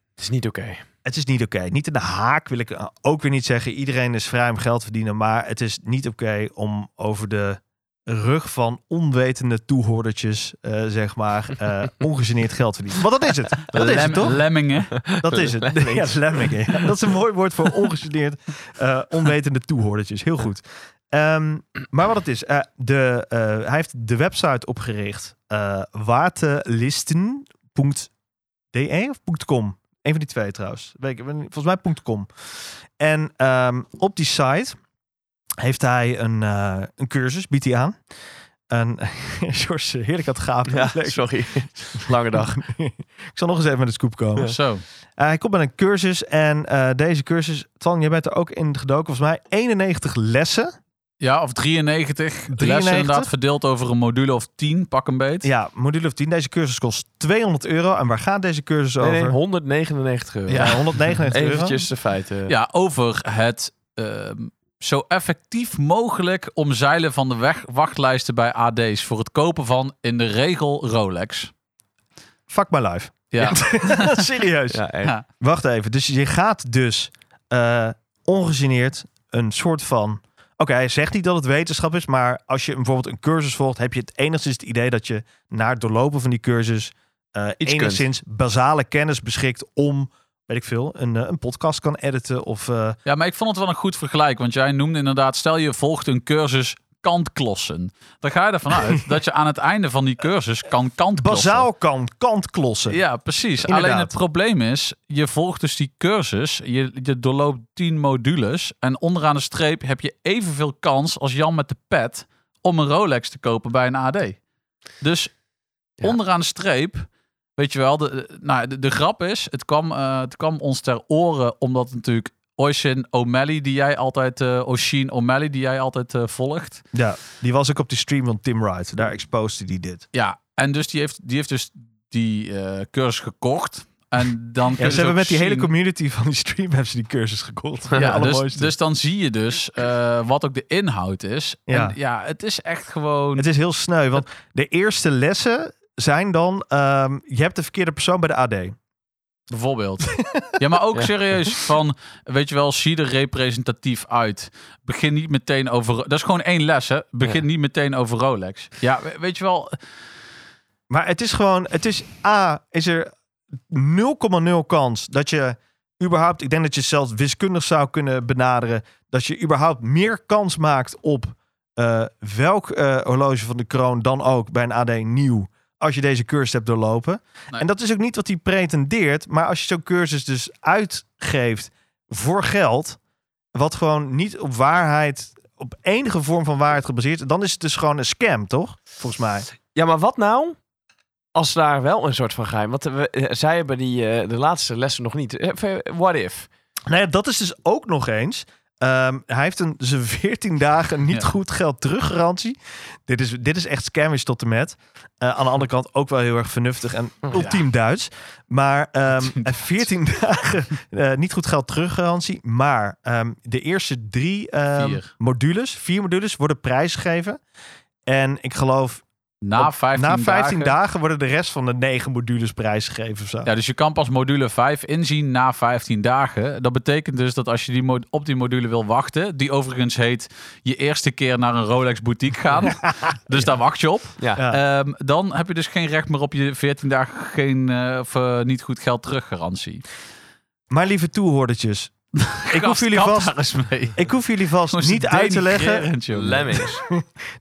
S6: Het is niet oké.
S3: Het is niet oké. Niet in de haak wil ik eh, ook weer niet zeggen. Iedereen is vrij om geld te verdienen, maar het is niet oké om over de rug van onwetende toehoordertjes, eh, zeg maar, eh, ongegeneerd geld te verdienen. Want dat is het. Dat is
S2: Lem-
S3: het, toch?
S2: Lemmingen.
S3: Dat is het.
S6: Lemmings.
S3: Ja, lemmingen. Ja, Dat is een mooi woord voor ongestudeerd, eh, onwetende toehoordertjes. Heel goed. Ehm, maar wat het is, eh, de, eh, hij heeft de website opgericht, eh waterlisten.de e of .com. Een van die twee trouwens. Weet ik- Volgens mij .com. En ehm, op die site heeft hij een, eh, een cursus, biedt hij aan. En George, heerlijk aan het gapen.
S6: Ja,
S3: Leuk.
S6: sorry. Lange dag.
S3: Ik zal nog eens even met de scoop komen.
S2: Zo.
S3: Uh, hij komt met een cursus en eh, deze cursus, Twan, jij bent er ook in gedoken, volgens mij 91 lessen.
S2: Ja, of 93. 93.
S3: 93?
S2: Lessen inderdaad verdeeld over een module of 10, pak een beet.
S3: Ja, module of 10. Deze cursus kost 200 euro. En waar gaat deze cursus
S6: Nee,
S3: over?
S6: nee, 199 euro.
S3: Ja, 199 euro.
S6: Eventjes de feiten.
S2: Ja, over het ehm, zo effectief mogelijk omzeilen van de weg wachtlijsten bij AD's voor het kopen van in de regel Rolex.
S3: Fuck my life.
S2: Ja,
S3: Serieus.
S6: Ja, echt.
S2: Ja.
S3: Wacht even. Dus je gaat dus eh ongegeneerd een soort van... Oké, hij zegt niet dat het wetenschap is, maar als je bijvoorbeeld een cursus volgt, heb je het enigszins het idee dat je na het doorlopen van die cursus eh,
S6: Iets kunt.
S3: enigszins basale kennis beschikt om, weet ik veel, een, eh, een podcast kan editen of... eh,
S2: ja, maar ik vond het wel een goed vergelijk. Want jij noemde inderdaad, stel je volgt een cursus kantklossen. Dan ga je ervan uit dat je aan het einde van die cursus kan kantklossen.
S3: bazaal kan kantklossen.
S2: Ja, precies. Alleen
S3: Inderdaad.
S2: het probleem is, je volgt dus die cursus, je, je doorloopt 10 modules en onderaan de streep heb je evenveel kans als Jan met de pet om een Rolex te kopen bij een AD. Dus
S6: Ja.
S2: onderaan de streep, weet je wel, de, de- nou, de, de grap is, het kwam, eh, het kwam ons ter oren omdat natuurlijk Oisin O'Malley, die jij altijd, eh Oshin O'Malley, die jij altijd eh, volgt,
S3: Ja, die was ook op die stream van Tim Wright. Daar exposed hij dit.
S2: Ja, en dus die heeft, die heeft dus die eh, cursus gekocht. En dan kun je
S3: Ja, ze
S2: dus ook
S3: hebben met die hele
S2: zien-
S3: community van die stream hebben ze die cursus gekocht.
S2: Ja, dus,
S3: Allermooiste.
S2: dus dan zie je dus eh, wat ook de inhoud is.
S3: Ja.
S2: En ja, het is echt gewoon...
S3: Het is heel sneu, want de eerste lessen zijn dan... ehm, je hebt de verkeerde persoon bij de AD.
S2: Bijvoorbeeld. ja, maar ook
S6: Ja.
S2: serieus van, weet je wel, zie er representatief uit. Begin niet meteen over... Dat is gewoon één les, hè. Begin niet meteen over Rolex. Ja, we- weet je wel...
S3: Maar het is gewoon... Het is A, is er 0,0 kans dat je überhaupt... Ik denk dat je zelfs wiskundig zou kunnen benaderen... dat je überhaupt meer kans maakt op eh, welk eh, horloge van de kroon dan ook... bij een AD nieuw, als je deze cursus hebt doorlopen.
S2: Nee.
S3: En dat is ook niet wat hij pretendeert. Maar als je zo'n cursus dus uitgeeft voor geld... wat gewoon niet op waarheid... op enige vorm van waarheid gebaseerd... is, dan is het dus gewoon een scam, toch? Volgens mij.
S6: Ja, maar wat nou als daar wel een soort van geheim... Want we, eh, zij hebben die, eh, de laatste lessen nog niet. Eh, What if?
S3: Nou ja, dat is dus ook nog eens. eh, Ehm, hij heeft een, zijn 14 dagen niet
S2: Ja.
S3: goed geld teruggarantie. Dit is, dit is echt scammish tot en met. Eh, aan de andere kant ook wel heel erg vernuftig en ultiem Duits. Maar ehm,
S2: Ultiem
S3: eh, 14 dagen eh, niet goed geld teruggarantie. Maar ehm, de eerste drie ehm,
S2: Vier.
S3: modules, vier modules, worden prijsgegeven. En ik geloof,
S2: Na
S3: op-
S2: 15,
S3: na 15
S2: dagen.
S3: dagen. worden de rest van de negen modules prijsgegeven. Of zo.
S2: Ja, dus je kan pas module 5 inzien na 15 dagen. Dat betekent dus dat als je die mo- op die module wil wachten, die overigens heet je eerste keer naar een Rolex boutique gaan. Dus daar wacht je op.
S6: Ja.
S3: Ja.
S2: Ehm, dan heb je dus geen recht meer op je 14 dagen geen eh, of, eh, niet goed geld teruggarantie.
S3: Maar lieve toehoordertjes, ik hoef
S2: Gast,
S3: jullie
S2: kap
S3: vast...
S2: daar eens mee.
S3: Ik hoef jullie vast
S2: Jongens,
S3: niet uit te leggen
S2: denigrerend, jongen.
S6: Lemmings.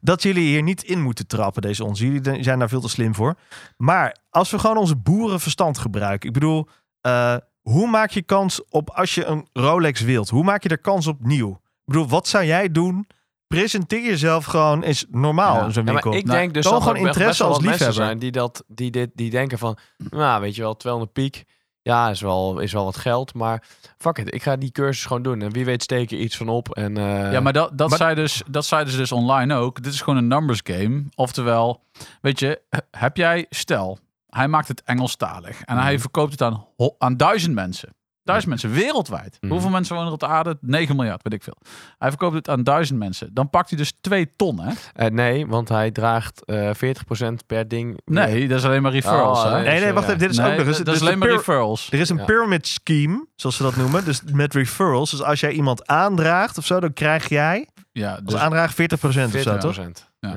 S3: dat jullie hier niet in moeten trappen, deze onzin. Jullie de- zijn daar veel te slim voor. Maar als we gewoon onze boerenverstand gebruiken. Ik bedoel, eh, hoe maak je kans op als je een Rolex wilt? Hoe maak je er kans op nieuw? Ik bedoel, wat zou jij doen? Presenteer jezelf gewoon eens normaal
S2: Ja.
S3: in zo'n
S6: Ja,
S3: winkel.
S6: maar ik
S2: Nou,
S6: denk dus
S3: toon
S6: dat
S3: gewoon
S6: er best-
S3: interesse
S6: best wel
S3: als
S6: wat mensen
S3: liefhebber.
S6: zijn die, dat, die, dit, die denken van, nou weet je wel, 200 piek, ja is wel, is wel wat geld, maar fuck it, ik ga die cursus gewoon doen en wie weet steek er iets van op en eh,
S2: Ja, maar dat, dat,
S3: Maar-
S2: zei dus, dat zeiden ze dus online ook. Dit is gewoon een numbers game. Oftewel, weet je, he- heb jij, stel, hij maakt het Engelstalig en
S3: Mhm.
S2: hij verkoopt het aan, ho- aan duizend mensen. Duizend mensen wereldwijd.
S6: Mhm.
S2: Hoeveel mensen wonen er op de aarde? 9 miljard, weet ik veel. Hij verkoopt het aan duizend mensen. Dan pakt hij dus 2 ton, hè?
S6: eh, nee, want hij draagt eh 40% per ding.
S2: Nee, dat is alleen maar referrals.
S6: Oh,
S2: hè?
S6: nee.
S3: Nee, nee, wacht
S6: Ja.
S3: even. Dit is
S2: Nee,
S3: ook nog eens.
S2: dat
S3: dus
S2: is
S3: de
S2: alleen maar
S3: pyra-
S2: referrals.
S3: Er is een
S6: Ja.
S3: pyramid scheme, zoals ze dat noemen. Dus met referrals. Dus als jij iemand aandraagt of zo, dan krijg jij
S2: Ja,
S3: als
S2: dus
S3: aandraag 40% of zo,
S6: 40%.
S3: toch?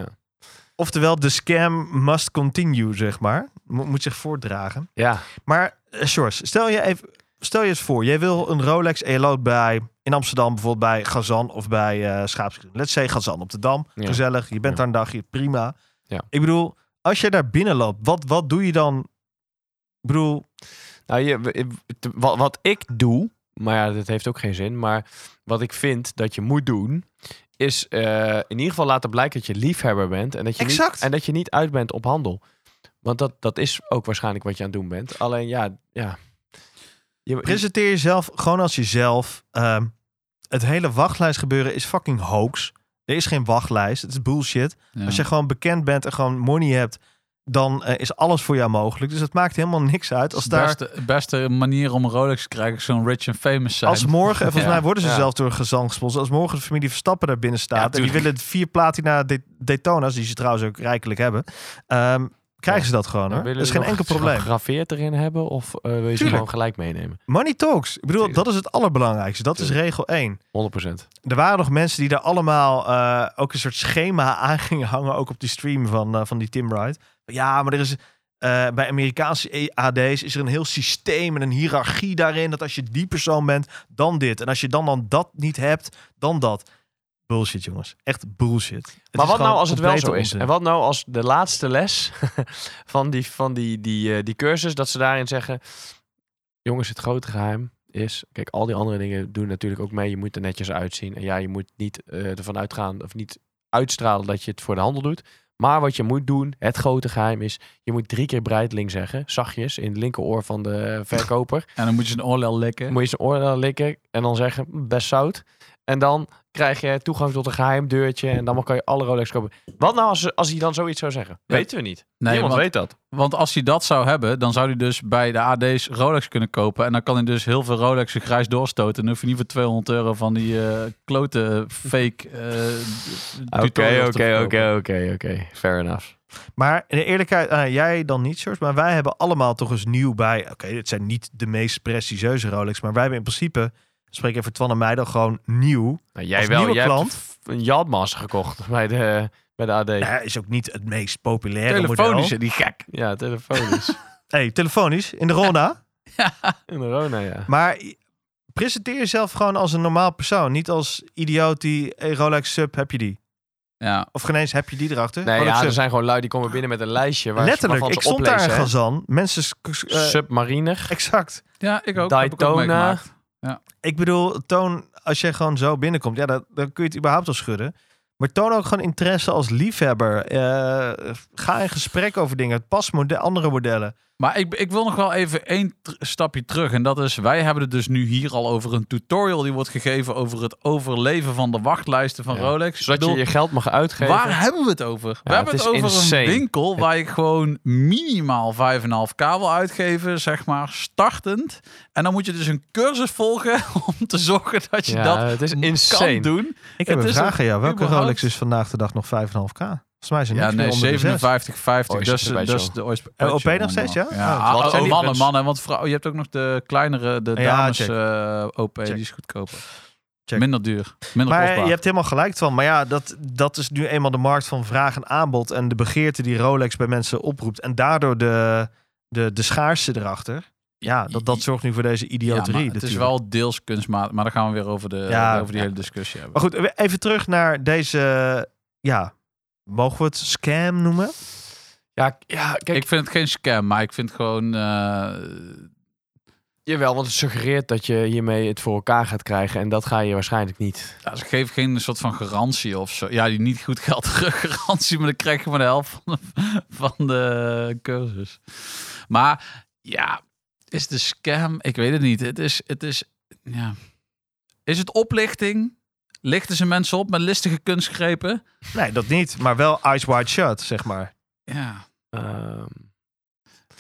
S3: Oftewel, de scam must continue, zeg maar. Mo- moet zich voortdragen.
S6: Ja,
S3: Maar eh, Sjors, stel je even, stel je eens voor, jij wil een Rolex Eloot bij in Amsterdam, bijvoorbeeld bij Gazan of bij eh Schaapskraan. Let's say Gazan op de Dam,
S6: Ja.
S3: gezellig. Je bent
S6: Ja.
S3: daar een dagje, prima.
S6: Ja.
S3: Ik bedoel, als je daar binnen loopt, wat, wat doe je dan? Ik bedoel,
S6: Nou, je, w- w- te- wat, wat ik doe, maar ja, dat heeft ook geen zin. Maar wat ik vind dat je moet doen, is eh, in ieder geval laten blijken dat je liefhebber bent. En dat je,
S3: Exact.
S6: Niet, en dat je niet uit bent op handel. Want dat, dat is ook waarschijnlijk wat je aan het doen bent. Alleen ja, ja. Je, je-
S3: presenteer jezelf gewoon als jezelf. Ehm, het hele wachtlijst gebeuren is fucking hoax. Er is geen wachtlijst, het is bullshit.
S2: ja.
S3: Als je gewoon bekend bent en gewoon money hebt, dan eh, is alles voor jou mogelijk. Dus het maakt helemaal niks uit. Als daar
S2: beste, beste manier om een Rolex te krijgen is zo'n rich and famous zijn.
S3: Als morgen, en volgens
S2: Ja.
S3: mij worden ze
S6: Ja.
S3: zelf door een gezang gesponsord. Als morgen de familie Verstappen daar binnen staat.
S2: Ja,
S3: en die
S2: tuurlijk.
S3: willen vier platina De- Daytona's, die ze trouwens ook rijkelijk hebben. ehm, krijgen ze dat gewoon
S6: ja,
S3: hoor.
S6: willen
S3: Dat is
S6: jullie
S3: geen
S6: nog
S3: enkel probleem.
S6: Gegraveerd erin hebben of eh, wil je ze
S3: Tuurlijk.
S6: gewoon gelijk meenemen? 100%.
S3: Money talks. Ik bedoel,
S6: Tuurlijk.
S3: dat is het allerbelangrijkste. Dat is regel 1.
S6: Ja,
S3: Er waren nog mensen die daar allemaal eh, ook een soort schema aan gingen hangen. Ook op die stream van, eh, van die Tim Wright. Ja, maar er is... eh, bij Amerikaanse E- AD's is er een heel systeem en een hiërarchie daarin. Dat als je die persoon bent, dan dit. En als je dan, dan dat niet hebt, dan dat. Bullshit, jongens. Echt bullshit. Het
S6: Maar
S3: is
S6: wat nou
S3: gewoon
S6: als het wel zo
S3: complete
S6: is?
S3: onzin.
S6: En wat nou als de laatste les van die, van die, die, eh, die cursus, dat ze daarin zeggen: Jongens, het grote geheim is. Kijk, al die andere dingen doen natuurlijk ook mee. Je moet er netjes uitzien. En ja, je moet niet eh, ervan uitgaan of niet uitstralen dat je het voor de handel doet. Maar wat je moet doen, het grote geheim is: je moet drie keer breitling zeggen, zachtjes in het linkeroor van de verkoper.
S2: En dan moet je zijn oorlel likken.
S6: Moet je zijn oor dan likken en dan zeggen, "Mm, best zout. En dan krijg je toegang tot een geheim deurtje en dan kan je alle Rolex kopen. Wat nou als, als hij dan zoiets zou zeggen?
S2: Ja.
S6: Weten we niet.
S2: Nee,
S6: Niemand
S2: want-
S6: weet dat.
S2: Want als hij dat zou hebben, dan zou hij dus bij de AD's Rolex kunnen kopen. En dan kan hij dus heel veel Rolexen grijs doorstoten. En dan hoef je niet voor 200 euro van die eh, klote fake eh tutorials te verkopen.
S6: oké, oké. Fair enough.
S3: Maar in de eerlijkheid, eh, jij dan niet, Sjors. Maar wij hebben allemaal toch eens nieuw bij... Oké, dit zijn niet de meest prestigieuze Rolex. Maar wij hebben in principe, spreek even Twan en mij dan gewoon nieuw.
S6: Nou, jij
S3: Als
S6: wel.
S3: nieuwe
S6: Jij
S3: klant-
S6: hebt f- een Yadmas gekocht bij de, bij de AD.
S3: Nou, is ook niet het meest populaire model.
S2: Telefonische, die gek.
S6: Ja, telefonisch.
S3: Hey, telefonisch, in de Rona.
S6: In de Rona, ja.
S3: Maar presenteer jezelf gewoon als een normaal persoon. Niet als idioot die hey, Rolex sub, heb je die?
S2: Ja.
S3: Of geen eens heb je die erachter?
S6: Nee,
S3: Rolex
S6: ja,
S3: sub.
S6: er zijn gewoon lui die komen binnen met een lijstje waar
S3: Letterlijk,
S6: waarvan
S3: ik
S6: ze
S3: stond daar
S6: oplezen.
S3: in
S6: hè.
S3: Gazan. Mensen... sk- sk- eh,
S6: Submariner.
S3: Exact.
S2: ja, ik ook. Heb ik ook
S6: Daytona.
S2: meegemaakt.
S3: Ik bedoel, toon, als jij gewoon zo binnenkomt, ja, dan, dan kun je het überhaupt al schudden. Maar toon ook gewoon interesse als liefhebber. Eh, ga in gesprek over dingen. Pas mode- andere modellen.
S2: Maar ik, ik wil nog wel even één tr- stapje terug. En dat is, wij hebben het dus nu hier al over een tutorial die wordt gegeven over het overleven van de wachtlijsten van
S6: Ja.
S2: Rolex. Ik
S6: Zodat
S2: bedoel,
S6: je je geld mag uitgeven.
S2: Waar hebben we het over? we hebben
S6: het
S2: het,
S6: is
S2: over
S6: insane.
S2: een winkel waar je gewoon minimaal 5,5k wil uitgeven, zeg maar, startend. En dan moet je dus een cursus volgen om te zorgen dat je
S6: Ja,
S2: dat
S6: het is
S2: m-
S6: insane.
S2: kan doen.
S3: Ik heb
S2: Het
S3: een
S2: is
S3: vraag
S2: ook
S3: aan jou. Welke
S2: überhaupt-
S3: Rolex is vandaag de dag nog 5,5k? Volgens mij zijn
S2: Ja,
S3: niks meer
S2: nee,
S3: onder de
S2: 57,50.
S3: zes.
S2: Dat is-
S6: Oyster
S2: dat is
S6: Special.
S2: de Oyster
S3: En OP
S2: Special
S3: nog steeds,
S2: allemaal.
S3: ja?
S2: Ja,
S3: Ah,
S2: ah,
S6: wat zijn
S2: oh,
S6: die
S2: mannen,
S6: dus?
S2: mannen. Want vrouw, je hebt ook nog de kleinere, de
S3: Ja,
S2: dames
S3: check.
S2: eh, OP.
S3: Check.
S2: Die is goedkoper.
S3: Check.
S2: Minder duur. Minder
S3: Maar eh,
S2: kostbaar.
S3: je hebt helemaal gelijk van. Maar ja, dat, dat is nu eenmaal de markt van vraag en aanbod. En de begeerte die Rolex bij mensen oproept. En daardoor de, de, de schaarste erachter. Ja, dat, dat zorgt nu voor deze
S2: ja,
S3: idioterie.
S2: maar het is
S3: natuurlijk.
S2: wel deels kunstmatig. Maar dan gaan we weer over, de,
S3: Ja, Oh,
S2: over die
S3: ja.
S2: hele discussie hebben.
S3: Maar goed, even terug naar deze. Ja, mogen we het scam noemen?
S6: Ja, ja, kijk,
S2: Ik vind het geen scam, maar ik vind gewoon... eh,
S6: jawel, want het suggereert dat je hiermee het voor elkaar gaat krijgen. En dat ga je waarschijnlijk niet.
S2: ja, ze geven geen soort van garantie of zo. Ja, die niet goed geld terug garantie, maar dan krijg je maar de helft van de, van de cursus. Maar ja, is het een scam? Ik weet het niet. Het is, het is, ja. Is het oplichting? Lichten ze mensen op met listige kunstgrepen?
S3: Nee, dat niet. Maar wel eyes wide shut, zeg maar.
S2: Ja.
S6: Ehm,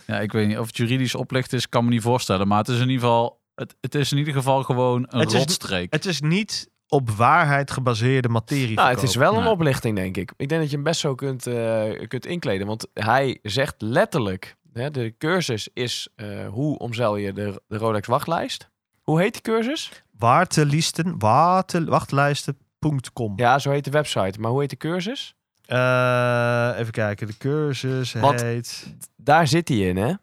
S2: ja, ik weet niet of het juridisch oplichten is, kan me niet voorstellen. Maar het is in ieder geval, het, het is in ieder geval gewoon een
S3: Het is-
S2: rotstreek.
S3: Het is niet op waarheid gebaseerde materie.
S6: nou, het is
S3: verkopen.
S6: wel een
S2: Nee.
S6: oplichting, denk ik. Ik denk dat je hem best zo kunt, eh, kunt inkleden. Want hij zegt letterlijk, hè, de cursus is eh, hoe omzeil je de, de Rolex wachtlijst. Hoe heet die cursus?
S3: Waartelisten, waartel, wachtlijsten.com.
S6: Ja, zo heet de website. Maar hoe heet de cursus?
S3: Eh, even kijken, de cursus
S6: Want-
S3: heet...
S6: Daar zit hij in, hè?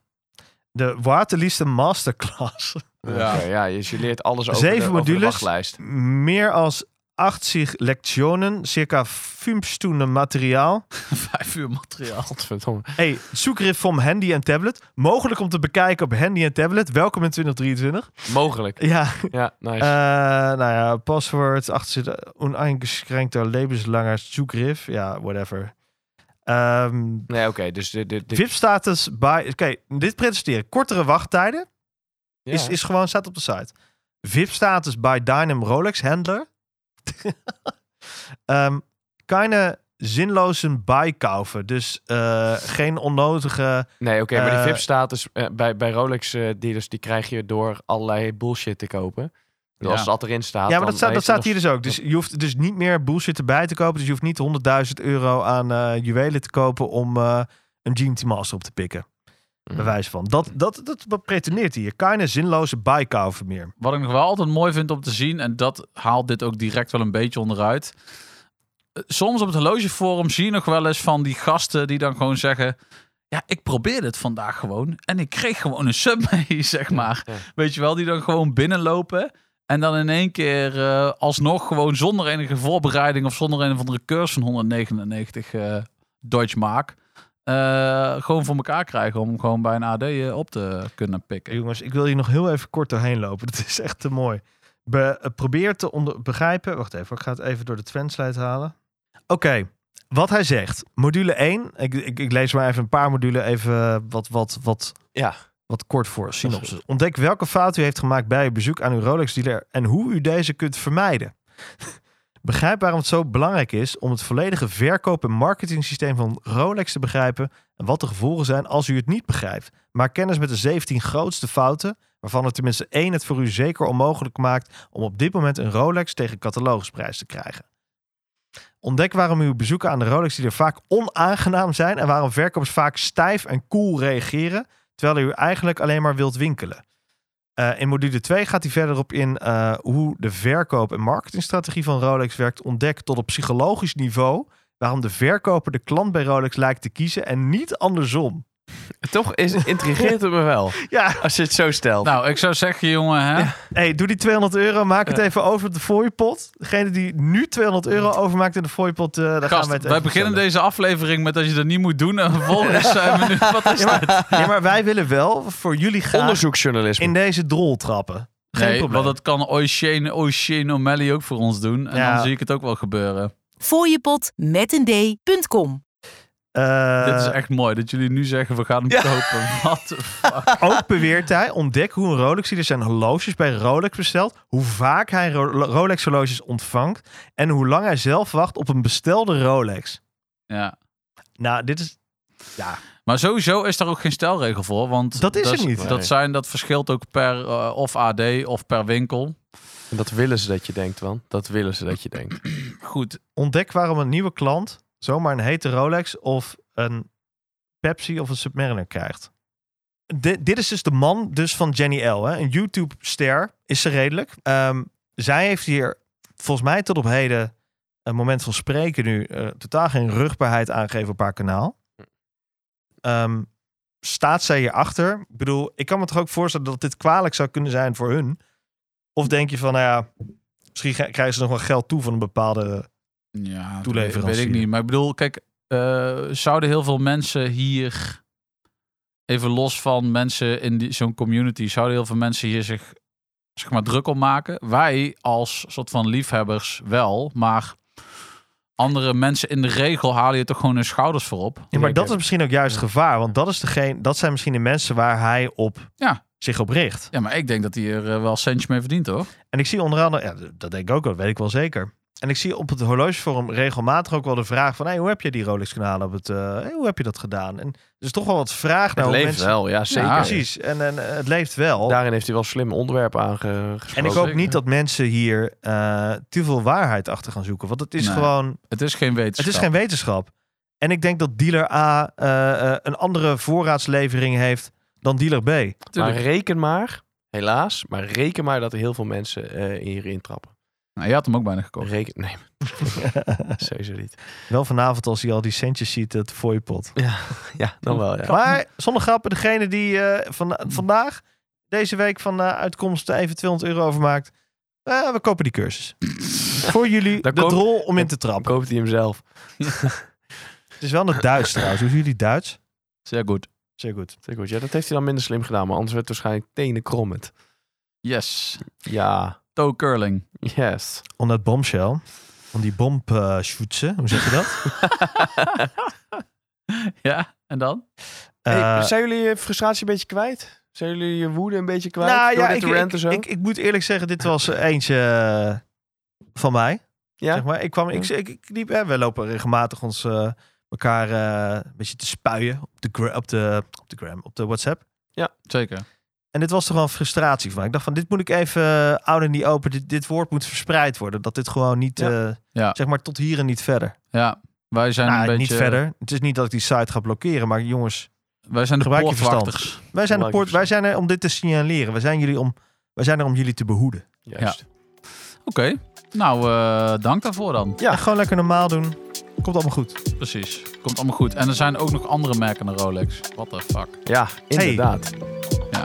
S3: De Waartelisten Masterclass.
S2: Ja.
S6: Oké, ja, dus je leert alles over,
S3: Zeven
S6: de, over de
S3: modules.
S6: wachtlijst.
S3: Meer als 80 lectionen, circa 15 materiaal.
S2: Vijf uur materiaal.
S6: Godverdomme.
S3: Hey, zoekrift van handy en tablet. Mogelijk om te bekijken op handy en tablet. Welkom in 2023.
S6: Mogelijk.
S3: Ja,
S6: Ja, nice.
S3: Eh, nou ja, paswoord, achter oneingeschränkter levenslanger Zugriff. Ja, whatever. Ehm
S6: nee, oké, dus de... de, de
S3: VIP-status bij... Oké, dit presenteren. Kortere wachttijden
S6: ja.
S3: is, is gewoon, staat op de site. VIP-status bij Dynam Rolex Handler. Ehm keine zinloze bijkaufen. Dus eh, geen onnodige...
S6: Nee, oké, maar
S3: Eh,
S6: die VIP-status eh, bij, bij Rolex eh, dealers, die krijg je door allerlei bullshit te kopen. Dus
S2: Ja.
S6: Als dat erin staat,
S3: ja, maar
S6: dan
S3: dat, staat dat
S6: heeft
S3: staat
S6: het
S3: hier
S6: nog-
S3: dus ook. Dus je hoeft dus niet meer bullshit erbij te kopen. Dus je hoeft niet 100.000 euro aan eh, juwelen te kopen om eh, een GMT Master op te pikken.
S6: Mm.
S3: Bij wijze van. Dat, dat, dat, dat pretendeert hier. Keine zinloze bijkaufen meer.
S2: Wat ik nog wel altijd mooi vind om te zien, en dat haalt dit ook direct wel een beetje onderuit. Eh, Soms op het horlogeforum zie je nog wel eens van die gasten die dan gewoon zeggen... Ja, ik probeerde het vandaag gewoon en ik kreeg gewoon een sub mee, zeg maar.
S6: Ja.
S2: Weet je wel, die dan gewoon binnenlopen en dan in één keer eh, alsnog gewoon zonder enige voorbereiding... of zonder een of andere cursus van 199 eh Deutsch Mark... eh, gewoon voor elkaar krijgen om gewoon bij een AD eh, op te kunnen pikken.
S3: Jongens, ik wil hier nog heel even kort doorheen lopen. Dat is echt te mooi. Be- eh, probeer te onder begrijpen. Wacht even, ik ga het even door de translate halen. Oké, wat hij zegt. Module 1. Ik, ik, ik lees maar even een paar module even eh, wat, wat, wat
S6: Ja,
S3: wat kort voor synopsis. Ontdek welke fout u heeft gemaakt bij uw bezoek aan uw Rolex dealer en hoe u deze kunt vermijden. Begrijp waarom het zo belangrijk is om het volledige verkoop- en marketingsysteem van Rolex te begrijpen en wat de gevolgen zijn als u het niet begrijpt. Maak kennis met de 17 grootste fouten, waarvan er tenminste één het voor u zeker onmogelijk maakt om op dit moment een Rolex tegen catalogusprijs te krijgen. Ontdek waarom uw bezoeken aan de Rolex dealer vaak onaangenaam zijn en waarom verkopers vaak stijf en koel reageren terwijl u eigenlijk alleen maar wilt winkelen. Eh, in module 2 gaat hij verder op in eh, hoe de verkoop- en marketingstrategie van Rolex werkt. Ontdek tot op psychologisch niveau waarom de verkoper de klant bij Rolex lijkt te kiezen en niet andersom.
S6: toch is, intrigeert het me wel,
S3: Ja,
S6: als je het zo stelt.
S2: Nou, ik zou zeggen, jongen, hè?
S3: hey, doe die 200 euro, maak het even over op de fooiepot. Degene die nu 200 euro overmaakt in de fooiepot, eh daar gaan
S2: Gast,
S3: we het
S2: wij
S3: even
S2: beginnen
S3: vertellen.
S2: deze aflevering met dat je dat niet moet doen. En vervolgens zijn we nu... Wat is dit?
S3: Ja, maar wij willen wel voor jullie graag
S6: Onderzoeksjournalisme.
S3: in deze drol trappen. Geen
S2: nee,
S3: probleem.
S2: want dat kan Ocean, Ocean O'Malley ook voor ons doen. En
S3: Ja.
S2: dan zie ik het ook wel gebeuren.
S1: Fooiepot met een d.com.
S3: Eh,
S2: Dit is echt mooi dat jullie nu zeggen we gaan hem
S6: Ja.
S2: kopen. Wat de fuck?
S3: Ook beweert hij, ontdek hoe een Rolex er zijn horloges bij Rolex bestelt, hoe vaak hij Ro- Rolex horloges ontvangt en hoe lang hij zelf wacht op een bestelde Rolex.
S2: Ja.
S3: Nou, dit is...
S2: Maar sowieso is daar ook geen stelregel voor. Want
S3: Dat is er niet.
S2: Dat,
S6: Nee.
S2: zijn, dat verschilt ook per eh, of AD of per winkel.
S6: En dat willen ze dat je denkt, man. Dat willen ze dat je denkt.
S2: Goed,
S3: Ontdek waarom een nieuwe klant zomaar een hete Rolex of een Pepsi of een Submariner krijgt. Di- dit is dus de man dus van Jenny L. Hè? Een YouTube-ster, is ze redelijk. Ehm, zij heeft hier volgens mij tot op heden een moment van spreken nu eh, totaal geen rugbaarheid aangegeven op haar kanaal. Ehm, staat zij hierachter? Ik bedoel, ik kan me toch ook voorstellen dat dit kwalijk zou kunnen zijn voor hun. Of denk je van, nou ja, misschien ge- krijgen ze nog wel geld toe van een bepaalde...
S2: Ja, dat weet,
S3: Toeleverancier.
S2: weet ik niet. Maar ik bedoel, kijk, eh, zouden heel veel mensen hier, even los van mensen in die- zo'n community, zouden heel veel mensen hier zich zeg maar, druk om maken? Wij als soort van liefhebbers wel, maar andere mensen in de regel halen je toch gewoon hun schouders voor op.
S3: Ja, maar
S6: Ik
S3: dat
S6: heb-
S3: is misschien ook juist het gevaar. Want dat, is degene, dat zijn misschien de mensen waar hij op
S2: Ja.
S3: zich op richt.
S2: Ja, maar ik denk dat hij er eh, wel centjes mee verdient, hoor.
S3: En ik zie onder andere, ja, d- dat denk ik ook wel, dat weet ik wel zeker. En ik zie op het horlogeforum regelmatig ook wel de vraag van... Hey, hoe heb je die Rolex-kanalen op het... eh, hey, hoe heb je dat gedaan? En er is toch wel wat vraag naar
S6: het
S3: hoe
S6: leeft
S3: mensen...
S6: wel, ja, zeker.
S2: Ja,
S3: Precies, en, en eh, het leeft wel.
S6: Daarin heeft hij wel slim onderwerp aangesproken.
S3: en ik hoop
S2: zeker.
S3: niet dat mensen hier eh, te veel waarheid achter gaan zoeken. Want het is
S2: Nee.
S3: gewoon...
S2: Het is geen
S3: Het
S2: wetenschap.
S3: is geen wetenschap. En ik denk dat dealer A eh, eh, een andere voorraadslevering heeft dan dealer B.
S2: Tuurlijk.
S6: Maar reken maar, helaas, maar reken maar dat er heel veel mensen eh hierin trappen.
S2: Nou, je had hem ook bijna gekocht.
S6: Reken, nee, sowieso niet.
S3: Wel vanavond als hij al die centjes ziet, het fooipot.
S6: Ja, dan wel, ja.
S3: Maar zonder grappen, degene die eh, van, vandaag, deze week van eh, uitkomsten even 200 euro overmaakt. eh, we kopen die cursus. Voor jullie
S6: Daar
S3: de
S6: koop-
S3: drol om in te
S6: Dan
S3: trappen.
S6: koopt hij hem zelf.
S3: Het is wel in het Duits trouwens. Hoe zien jullie Duits?
S2: Zeer goed.
S3: Zeer goed.
S6: Zeker goed. Ja, dat heeft hij dan minder slim gedaan, maar anders werd het waarschijnlijk tenen krommend.
S2: Yes.
S6: Ja,
S2: Toe curling.
S6: yes.
S3: Om dat bombshell. Om die bom eh, schutsen. Hoe zeg je dat?
S2: ja, en dan?
S6: Hey,
S3: Eh,
S6: zijn jullie je frustratie een beetje kwijt? Zijn jullie je woede een beetje kwijt?
S3: nou
S6: door
S3: ja, ik,
S6: dit te ranten
S3: ik,
S6: zo?
S3: ik, ik moet eerlijk zeggen, dit was eentje eh, van mij.
S6: ja?
S3: Zeg maar. ik kwam, ik, ik, ik liep, hè, we lopen regelmatig ons eh, elkaar eh, een beetje te spuien op de, gra- op, de, op de gram, op de WhatsApp.
S2: Zeker.
S3: En dit was toch wel een frustratie van mij. Ik dacht van, dit moet ik even eh, out in die open. Dit, dit woord moet verspreid worden. Dat dit gewoon niet,
S6: Ja.
S3: eh,
S2: Ja.
S3: zeg maar, tot hier en niet verder.
S2: Ja, wij zijn
S3: Nou,
S2: een beetje...
S3: niet verder. Het is niet dat ik die site ga blokkeren. Maar jongens,
S2: Wij zijn de
S3: Gebruik je verstand.
S2: poortwachters.
S3: wij zijn, de
S6: Gebruik
S3: poort,
S6: je
S3: wij
S6: verstand.
S3: zijn er om dit te signaleren. Wij zijn, jullie om, wij zijn er om jullie te behoeden.
S6: Juist.
S2: Oké, nou eh, dank daarvoor dan.
S6: Ja.
S3: En gewoon lekker normaal doen. Komt allemaal goed.
S2: Precies, komt allemaal goed. En er zijn ook nog andere merken dan Rolex. What the fuck.
S6: Ja, inderdaad.
S2: Ja,